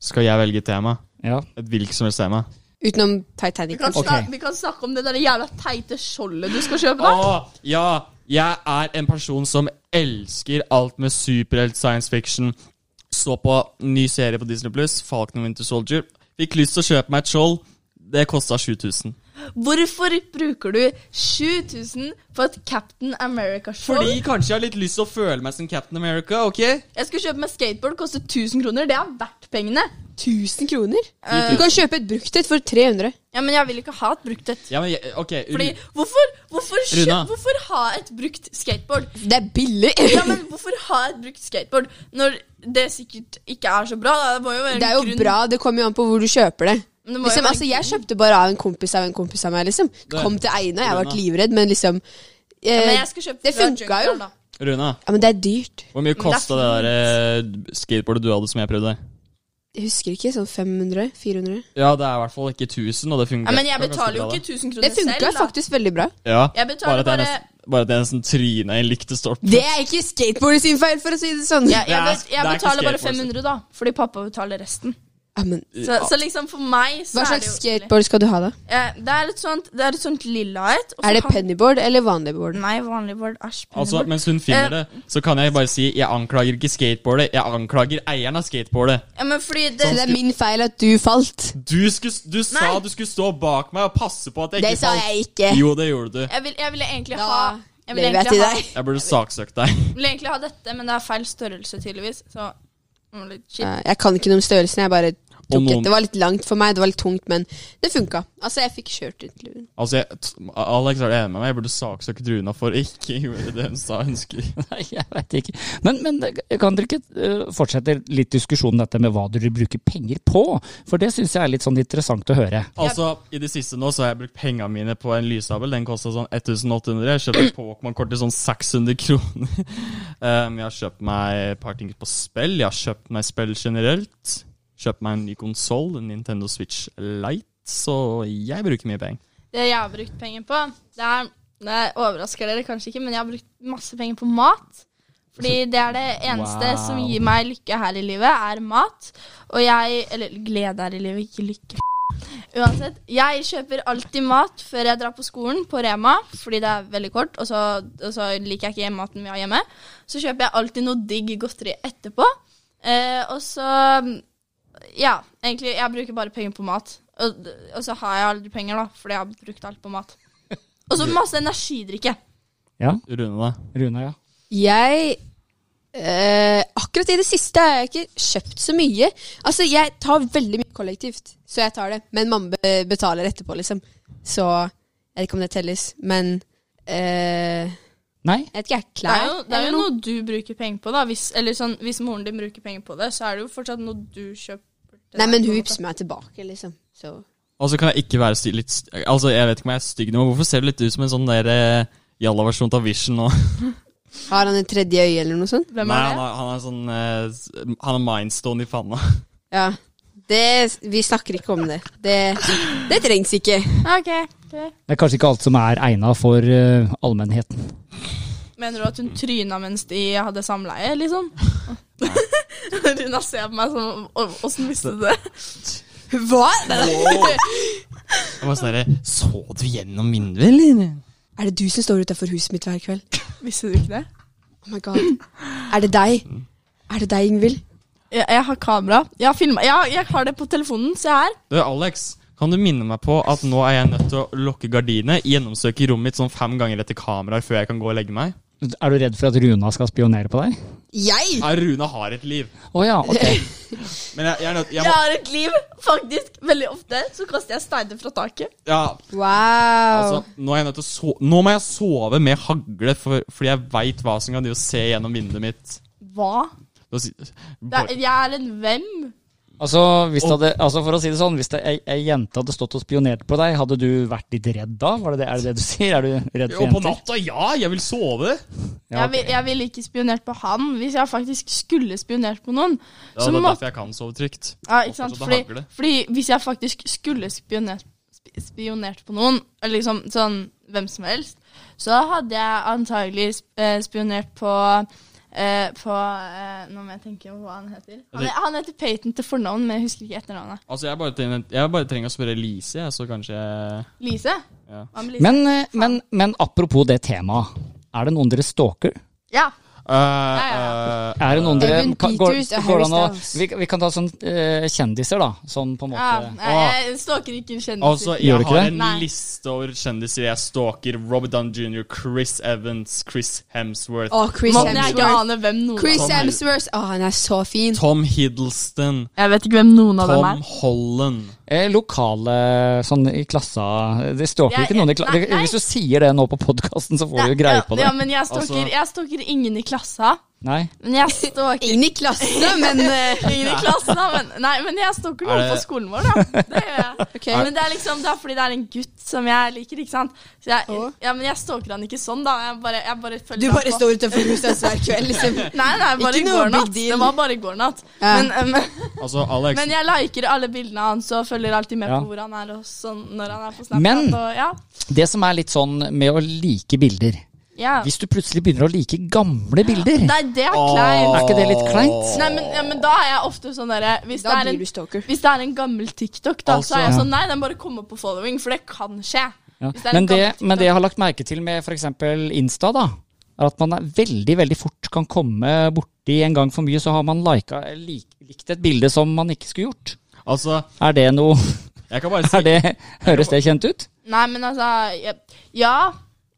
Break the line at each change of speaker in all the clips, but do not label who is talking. Skal jeg velge tema?
Ja.
Et hvilket som helst tema?
Utenom
Vi
Titanic,
kan,
kanskje.
Ok.
snak- vi kan snakke om det der jævla teite skjoldet du skal kjøpe deg.
Å, ja! Jeg er en person som elsker alt med superhelt, science fiction. Så på ny serie på Disney Pluss, Falcon and Winter Soldier. Fikk lyst til å kjøpe meg et skjold. Det kosta 7000.
Hvorfor bruker du 7000 på et Captain America-skjold?
Fordi kanskje jeg har litt lyst til å føle meg som Captain America, OK?
Jeg skulle kjøpe meg skateboard, kostet 1000 kroner. Det er verdt pengene.
1000 kroner?
Eh.
Du kan kjøpe et brukt et for 300.
Ja, Men jeg vil ikke ha et brukt et.
Ja, men jeg, OK. Ru-
Fordi, hvorfor, hvorfor, kjø-
Runa.
hvorfor ha et brukt skateboard?
Det er billig!
Ja, men Hvorfor ha et brukt skateboard når det sikkert ikke er så bra? Da? Det må jo være en
Det er jo
grunn.
bra, det kommer jo an på hvor du kjøper det.
Men det må jo
Liksom,
være
altså, jeg kjøpte bare av en kompis av en kompis av meg, liksom. Kom til Einar, jeg ble
Runa.
livredd, men liksom eh,
Men jeg skal kjøpe
Det
fra
funka jo.
Junkyard, da.
Runa,
Ja, men det er dyrt.
hvor mye
Mm, det er
kosta det der eh, skateboardet du hadde som jeg prøvde?
Jeg husker ikke, sånn 500? 400?
Ja, det er i hvert fall ikke 1000, og det fungerer.
Ja, men jeg
ganske
betaler jo
bra, det.
ikke 1000 kroner
Det funka
selv, da.
faktisk veldig bra.
Ja,
Jeg betaler
bare at jeg
bare-
nesten, bare at jeg nesten tryna i en lyktestolpe.
Det er ikke skateboardet sin feil, for å si det sånn.
Jeg, jeg,
Det er-
bet- jeg
det er ikke
betaler bare
skateboard,
500, da. Fordi pappa betaler resten.
Ja, men,
Så, så liksom for meg så
hva
er
slags
det jo
skateboard skal du ha, da?
Eh, Det er et sånt, det er et sånt lilla et. og så
Er det
kan-
pennyboard eller vanlig board?
Nei, vanlig board. Æsj.
Altså,
pennyboard.
Mens hun
Eh.
finner det, så kan jeg bare si jeg anklager ikke skateboardet, jeg anklager eieren av skateboardet.
ja, men fordi
Så
det,
det er min feil at du falt.
Du, skulle, du sa
Nei.
du skulle stå bak meg og passe på at jeg
Det
ikke
sa
falt.
jeg ikke.
Jo, det gjorde du.
jeg, vil, jeg ville
Da
egentlig ha jeg ville
lever jeg
egentlig
til
ha-
deg.
Jeg burde saksøkt deg.
ville egentlig ha dette, men det er feil størrelse, tydeligvis. Så det var litt shit.
Ja, Jeg kan ikke noe om størrelsen. Jeg bare tok
Og noen-
et. Det var litt langt for meg, det var litt tungt, men det funka. Altså, jeg fikk kjørt ut luren.
Altså, jeg, t- Alex er enig med meg, jeg burde saksøkt Runa for ikke gjøre det hun sa hun skulle.
Nei, jeg veit ikke. Men, men kan dere ikke eh, fortsette litt diskusjonen dette med hva dere bruker penger på? For det syns jeg er litt sånn interessant å høre.
Altså, I det siste nå så har jeg brukt penga mine på en lyssabel. Den kosta sånn 1800. Jeg kjøpte Pokémon-kort til sånn 600 kroner. Um, jeg har kjøpt meg et par ting på spill. Jeg har kjøpt meg spill generelt. Kjøpt meg en ny konsoll, en Nintendo Switch Lite. Så jeg bruker mye penger.
Det jeg har brukt penger på, det er Det overrasker dere kanskje ikke, men jeg har brukt masse penger på mat. Fordi det er det eneste
Wow.
som gir meg lykke her i livet, er mat. Og jeg Eller glede her i livet, ikke lykke. Uansett, jeg kjøper alltid mat før jeg drar på skolen, på Rema, fordi det er veldig kort, og så, og så liker jeg ikke maten vi har hjemme. Så kjøper jeg alltid noe digg godteri etterpå. Eh, og så Ja, egentlig, jeg bruker bare penger på mat. Og, og så har jeg aldri penger, da, fordi jeg har brukt alt på mat. Og så masse energidrikke.
Ja,
Rune, da?
Runa, ja.
Jeg eh, Akkurat i det siste har jeg ikke kjøpt så mye. Altså, jeg tar veldig mye kollektivt, så jeg tar det. Men mamma be- betaler etterpå, liksom. Så jeg vet ikke om det telles. Men eh,
Nei?
jeg vet ikke, jeg.
Det
Klær?
er jo, det er
eller
jo noe du bruker penger på, da. Hvis, eller sånn, hvis moren din bruker penger på det, så er det jo fortsatt noe du kjøper. til
Nei,
deg,
men
på en
hun
måte.
vipser meg tilbake, liksom. Så
Og så Altså, kan jeg ikke være sty- litt st- Altså, jeg vet ikke om jeg er stygg nå, men hvorfor ser du litt ut som en sånn der eh, jalla-versjon av Vision nå?
har han et tredje øye eller noe sånt?
Hvem
Nei,
er
han
det?
har, han har sånn eh, s- Han har mindstone i panna.
Ja. Det, vi snakker ikke om det. Det, det trengs ikke.
Ok, ok.
Det er kanskje ikke alt som er egna for eh, allmennheten.
Mener du at hun tryna mens de hadde samleie, liksom? Runa ser på meg som Åssen visste du det?
Hva?
Jeg var sånn der, Så du gjennom vinduet, eller?
Er det du som står utafor huset mitt hver kveld?
Visste du ikke det?
Oh my god. Er det deg? Er det deg, Ingvild?
Jeg, jeg har kamera. Jeg har, filmet- jeg, jeg har det på telefonen. Se her.
Du, Alex, kan du minne meg på at nå er jeg nødt til å lukke gardinene, gjennomsøke rommet mitt sånn fem ganger etter kameraer før jeg kan gå og legge meg?
Er du redd for at Runa skal spionere på deg?
Jeg?
Nei, Rune har et liv.
Å ja, ok.
Men jeg, jeg er nødt jeg
Jeg
må,
har et liv, faktisk. Veldig ofte så kaster jeg steiner fra taket.
ja,
Wow.
altså, nå, er jeg nødt til å so- nå må jeg sove med hagle, for, fordi jeg veit hva som kan drive og se gjennom vinduet mitt.
Hva?
Da si-
Det er, jeg er en hvem?
Altså, hvis det hadde, altså For å si det sånn, hvis det- ei ei jente hadde stått og spionert på deg, hadde du vært litt redd da? Var det det, er det det du sier? Er du redd for
Og på
jenter?
natta, ja! Jeg vil sove.
Ja,
Jeg,
ok.
vil, jeg ville ikke spionert på han hvis jeg faktisk skulle spionert på noen.
Ja, det
Så
er
må-
derfor jeg kan sove trygt.
Ja, ikke sant?
fortsatt å
Fordi,
hagle.
fordi hvis jeg faktisk skulle spionert, sp- spionert på noen, eller liksom sånn hvem som helst, så hadde jeg antagelig sp- eh, spionert på eh, på eh, Nå må jeg tenke på hva han heter. Han, er- han heter Peyton til fornavn, men jeg husker ikke etternavnet.
Altså, jeg bare, trenger, jeg bare trenger å spørre Lise, jeg, så kanskje jeg-
Lise?
ja.
Hva med Lise?
Men, eh, men, men apropos det temaet. Er det noen dere stalker?
ja.
Eh, eh,
Er det noen dere
Evan
kan- går,
Peters og
går det an å,
Harry Styles.
vi, vi kan ta sånn eh, kjendiser, da. Sånn på en
ja.
måte
Nei, jeg stalker ikke kjendiser.
eh, Altså, jeg
Gjør du ikke
har
det?
en
Nei.
liste over kjendiser jeg stalker. Robert Dunn jr., Chris Evans, Chris Hemsworth,
Å, Chris
Måten jeg ikke
Hemsworth.
aner hvem noen
Chris
Tom-
Hemsworth. Å, han er så fin.
Tom Hiddleston,
Jeg vet ikke hvem noen av dem
Tom
er.
Holland.
Eh, Lokale sånn i klassa Det står
Jeg-
ikke noen i kla
nei, nei.
Hvis du sier det nå på podkasten, så får du jo greie på det.
Ja, men jeg stalker,
Altså-
jeg stalker ingen i klassa.
Nei?
Men jeg stalker
Ingen i klassen, men eh,
ingen i klassen, da. Men, nei, men jeg stalker
Er
noen
det-
på skolen vår, da. Det gjør jeg.
Ok.
Men det er liksom det er fordi det er en gutt som jeg liker, ikke sant. Så jeg,
Å.
ja, men jeg stalker han ikke sånn, da. Jeg bare, jeg bare følger
Du
han
bare
på-
står utenfor huset hans hver kveld, liksom.
Nei, nei, bare
Ikke
i
noe
går
big
natt.
deal.
Det var bare i går natt.
Ja.
Men, eh, men,
Altså, Alex,
men jeg liker alle bildene hans og følger alltid med
Ja.
på hvor han er og sånn når han er på Snapchat.
Men-
og, ja.
Det som er litt sånn med å like bilder
Ja.
Hvis du plutselig begynner å like gamle bilder
Nei, det er
Åh.
Er
kleint.
ikke det litt kleint?
Nei, men, ja, men da er jeg ofte sånn derre hvis,
Da
det er
blir
en-
du stalker.
hvis det er en gammel TikTok, da,
Altså-
så er jeg
Ja.
sånn Nei, den bare kommer på following, for det kan skje.
Ja.
Hvis det er
Men,
en gammel
det,
TikTok.
men det jeg har lagt merke til med f.eks. Insta, da, er at man er veldig veldig fort kan komme borti en gang for mye, så har man lika, lik, likt et bilde som man ikke skulle gjort.
altså,
Er det noe
jeg kan bare si
er det, Høres det kjent ut?
Nei, men altså ja, ja,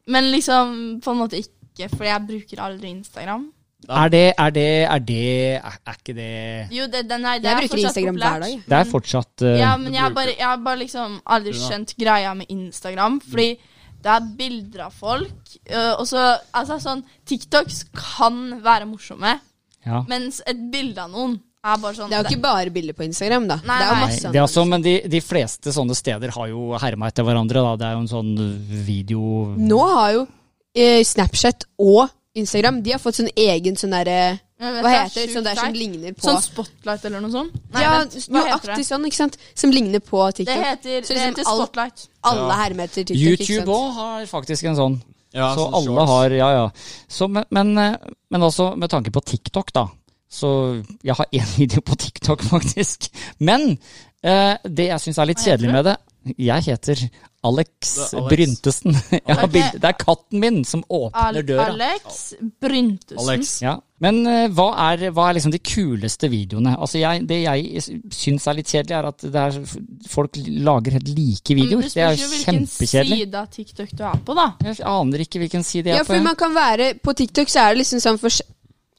men liksom på en måte ikke, for jeg bruker aldri Instagram.
Ja.
Er det Er det Er, det, er, er ikke det
Jo, det, den er, det
Jeg
er
bruker
fortsatt
Instagram
populært.
hver dag, jeg.
Det er fortsatt eh,
Ja, men
Du
jeg har
bruker-
bare, jeg har bare liksom aldri
Ja.
skjønt greia med Instagram. Fordi det er bilder av folk. øh, Og så Altså, sånn TikToks kan være morsomme,
ja.
mens et bilde av noen er bare sånn
Det er jo ikke bare bilder på Instagram, da.
Nei,
det er jo
nei.
Nei,
masse
det er
annet.
altså, men de, de fleste sånne steder har jo herma etter hverandre. Da. Det er jo en sånn video...
Nå har jo eh, Snapchat og Instagram De har fått sånn egen sånn derre
Jeg Eh, vet,
Hva
det er
heter det?
sjukt
Sånn der som
teit.
ligner på
Sånn spotlight eller noe sånt? Nei,
Ja,
vent, hva heter
nøyaktig
det?
sånn, ikke sant? Som ligner på TikTok.
Det heter,
så
det
liksom
heter
alt,
spotlight.
alle
Ja.
hermer etter TikTok. ikke
YouTube
sant?
òg har faktisk en sånn.
ja,
så
sånn
alle
shorts.
har Ja, ja. Så, men, men, eh, men også med tanke på TikTok, da. Så jeg har én video på TikTok, faktisk. Men eh, det jeg syns er litt
Hva heter
kjedelig med det Jeg heter Alex,
Det er Alex.
Bryntesen. Jeg har
Ok.
bild- det er katten min som
Al
åpner døra.
Alex Bryntusen.
Alex,
Ja, Men eh, hva, er, hva er liksom de kuleste videoene? Altså jeg, Det jeg syns er litt kjedelig, er at det er, folk lager helt like videoer.
Men
Det er
spørs
jo
jo hvilken
kjempekjedelig.
side av TikTok du er på, da.
Jeg aner ikke hvilken side jeg
Ja,
er på.
for
jeg.
man kan være På TikTok så er det liksom sånn fors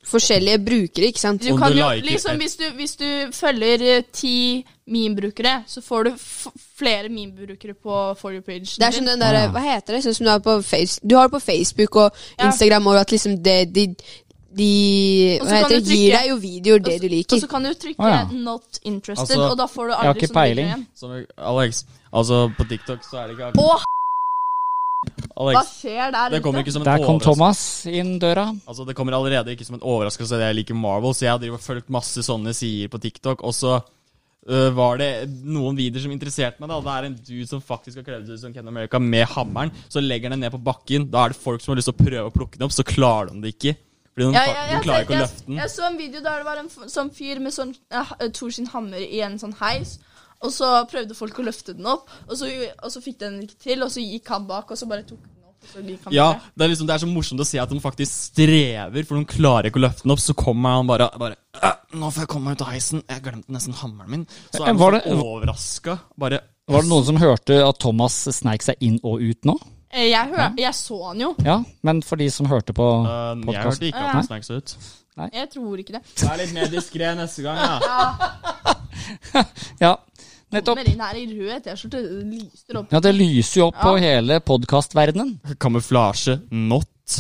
forskjellige brukere, ikke sant?
Du
Om
kan
du
jo,
liker
liksom,
et-
hvis, du, hvis du følger eh, ti meme-brukere, så får du f flere meme-brukere på For you page.
Det er sånn den derre Hva heter det? Sånn som du har på Face Du har det på Facebook og
Ja.
Instagram og at liksom det de, de
Og så
Hva
kan
heter det?
du
Gir
trykke-
deg jo videoer det du
Og
liker.
så kan du trykke
Å, ja.
'not interested',
Altså,
og da får du
jeg har
aldri
ikke
sånn video
peiling.
igjen.
som, Alex, altså på TikTok så er det ikke
Åh, hva
Alex,
skjer der
det kommer
ute?
ikke som en
Der kom
overraskelse.
Thomas inn døra.
Altså, det kommer allerede ikke som en overraskelse at jeg liker Marvel, så jeg har drivet og fulgt masse sånne sider på TikTok, og så øh, var det noen videoer som interesserte meg. da Det er en dude som faktisk har kledd seg ut som Ken America med hammeren. Så legger han den ned på bakken. Da er det folk som har lyst til å prøve å plukke den opp, så klarer de det ikke. Fordi de,
Ja,
fa-
ja,
de klarer
jeg,
ikke å
jeg,
løfte
jeg,
den.
jeg så en video der det var en f sånn fyr med sånn eh, Thor sin hammer i en sånn heis. Og så prøvde folk å løfte den opp, og så, og så fikk den ikke til. Og så gikk han bak, og så bare tok den opp. Og så gikk han
Ja,
videre.
det er liksom Det er så morsomt å se at de faktisk strever, for de klarer ikke å løfte den opp. Så kommer han bare, bare «Øh, 'Nå får jeg komme meg ut av heisen. Jeg glemte nesten hammeren min.' Så er de
Eh, Var
så
det-
overraska. Bare
Var det noen som hørte at Thomas sneik seg inn og ut nå?
Eh, Jeg, hør, jeg så han jo.
Ja, men for de som hørte på
øh, Jeg hørte
podkasten
ikke at han snakket seg ut.
Jeg tror ikke det.
Vær litt mer diskré neste gang, da.
Ja, nettopp.
Kommer inn her i rød T-skjorte, det lyser opp.
Ja, det lyser jo opp på hele podkastverdenen.
Kamuflasje not.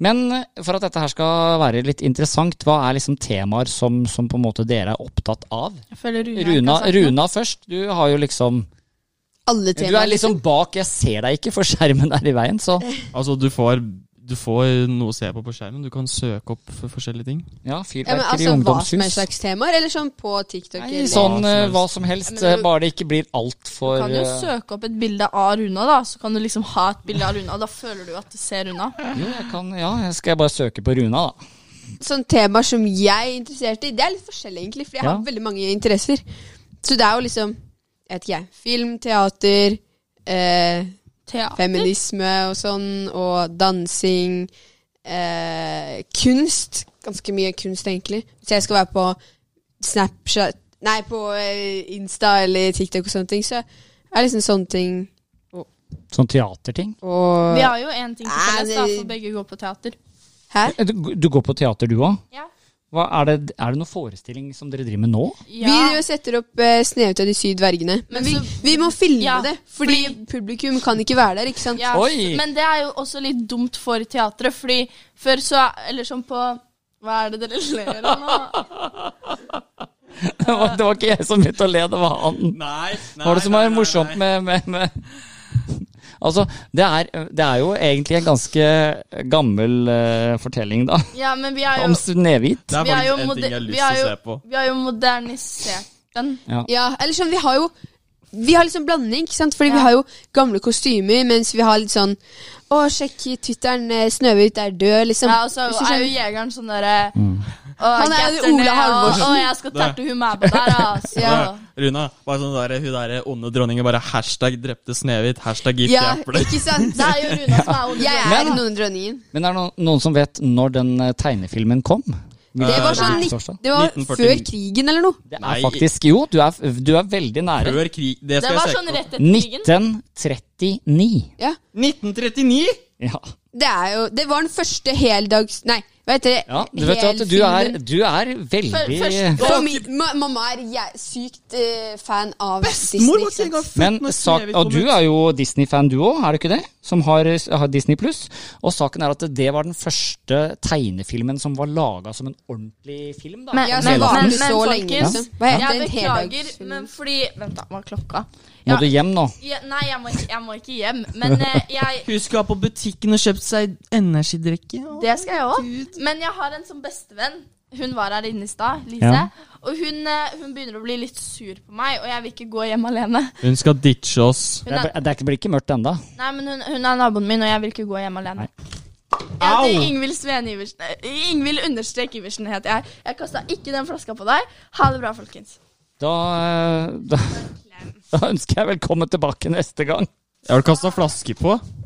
Men eh, for at dette her skal være litt interessant, hva er liksom temaer som, som på en måte dere er opptatt av?
Jeg føler Runa, ikke altså,
Runa,
har sagt noe.
Runa først. Du har jo liksom
Alle
Du er
temaer.
liksom bak, jeg ser deg ikke, for skjermen er i veien. Så
Altså, du får, du får noe å se på på skjermen. Du kan søke opp for forskjellige ting.
ja,
Ja,
fyrverkeri,
men altså hva som helst
ungdomshus.
slags temaer, eller sånn på TikTok?
Nei,
eller-
Hva som
sånn eh,
helst.
hva som helst,
Ja, men du-
eh, bare det ikke blir eh,
Du
altfor
kan jo søke opp et bilde av Runa, da. Så kan du liksom ha et bilde av Runa. Da føler du at du ser Runa.
Jo, jeg kan, ja, jeg skal bare søke på Runa, da.
sånn temaer som jeg er interessert i, det er litt forskjellig, egentlig, for jeg
Ja.
har veldig mange interesser. Så det er jo liksom jeg vet ikke jeg, film, teater, eh,
Teater.
feminisme og sånn, og dansing. Eh, kunst. Ganske mye kunst, egentlig. Hvis jeg skal være på Snapchat Nei, på eh, Insta eller TikTok og sånne ting, så er liksom sånne ting
Sånn teaterting.
og
Vi har jo én ting til
Nei,
felles, da,
det-
for begge går på teater.
Hæ?
Eh, Du, du går på teater du òg?
Ja.
Er, det- er det noen forestilling som dere driver med nå?
Ja.
Vi driver og setter opp eh, Snehvit og de syv dvergene. Men
Men
vi,
så-
vi må filme
Ja,
det, fordi,
fordi-
publikum kan ikke være der. ikke sant?
Ja,
Oi!
Men det er jo også litt dumt for teatret, fordi før så Eller sånn på Hva er det dere ler av nå?
Det var, det var ikke jeg som begynte å le, det var han.
Nei, nei
Hva er det som
nei,
er
nei,
morsomt
nei.
med, med, med Altså, det er, det er jo egentlig en ganske gammel eh, fortelling, da.
Ja, men vi er jo
Om Snehvit.
Det er
Vi er
faktisk
jo
en ting jeg
moder-
har lyst
vi er
til å
jo-
se på.
Vi har jo modernisert den.
Ja, eller sånn, vi har jo Vi har liksom blanding, ikke sant? Fordi
Ja.
vi har jo gamle kostymer, mens vi har litt sånn Å, sjekk i Twitteren, eh, Snøhvit er død, liksom.
Ja, og så
Hvis du
er jo
skjønner.
jegeren sånn derre
Mm.
Han er jo Ola Halvorsen.
Og, og jeg skal terte hun med på der, altså.
Ja.
Runa, bare sånn der, hun derre onde dronningen bare hashtag drepte Snehvit, hashtag gitt
ja,
i eplet.
ikke sant?
Det er jo Runa som er Ola
Jeg er
Men-
noen dronningen.
Men er det noen, noen som vet når den eh, tegnefilmen kom?
Det
Eh,
var sånn
Hvilken
ni-
årsdag?
Det var
1949.
før krigen eller noe.
Det
Nei.
er faktisk Jo, du er, du er veldig nære.
Før krig Det
sånn- Det
skal
var
jeg
sånn
sjekke opp.
rett etter krigen.
1939.
Ja.
1939?!
Ja.
Det er jo Det var den første heldags... Nei, hva heter det?
ja du vet jo at du er,
Helfilmen.
du er veldig
Først-
Og min, ma, mamma er jeg, sykt eh, fan av
Mor
Disney.
var
ikke
ikke
sant?
engang født
Men
når
sak,
Snehvit
og
kom
du
ut.
er jo Disney-fan du òg, er du ikke det? Som har, har Disney pluss. Og saken er at det var den første tegnefilmen som var laga som en ordentlig film. da.
Men-
Ja,
Om
som
hele
var
aften.
med så lenge.
folkens,
Liksom. Hva heter
Jeg
den
beklager,
heldags...
men fordi Vent, da. Hva er klokka?
Må
Ja.
du hjem nå?
Ja, nei, jeg må, ikke- jeg må ikke hjem. Men eh, jeg
Hun skulle ha på butikken og kjøpt seg energidrikke.
Det skal jeg òg. Men jeg har en som bestevenn. Hun var her inne i stad, Lise.
Ja.
Og hun, eh, hun begynner å bli litt sur på meg, og jeg vil ikke gå hjem alene.
Hun skal ditche oss.
Hun er,
Det er- det er ikke- blir ikke mørkt ennå.
nei, men hun, hun er naboen min, og jeg vil ikke gå hjem alene. Jeg
Au!
heter Ingvild Sveen Iversen. Eh, Ingvild understrek Iversen heter jeg. Jeg kasta ikke den flaska på deg. Ha det bra, folkens.
Da, eh, da, da ønsker jeg velkommen tilbake neste gang.
Jeg har du kasta flasker på?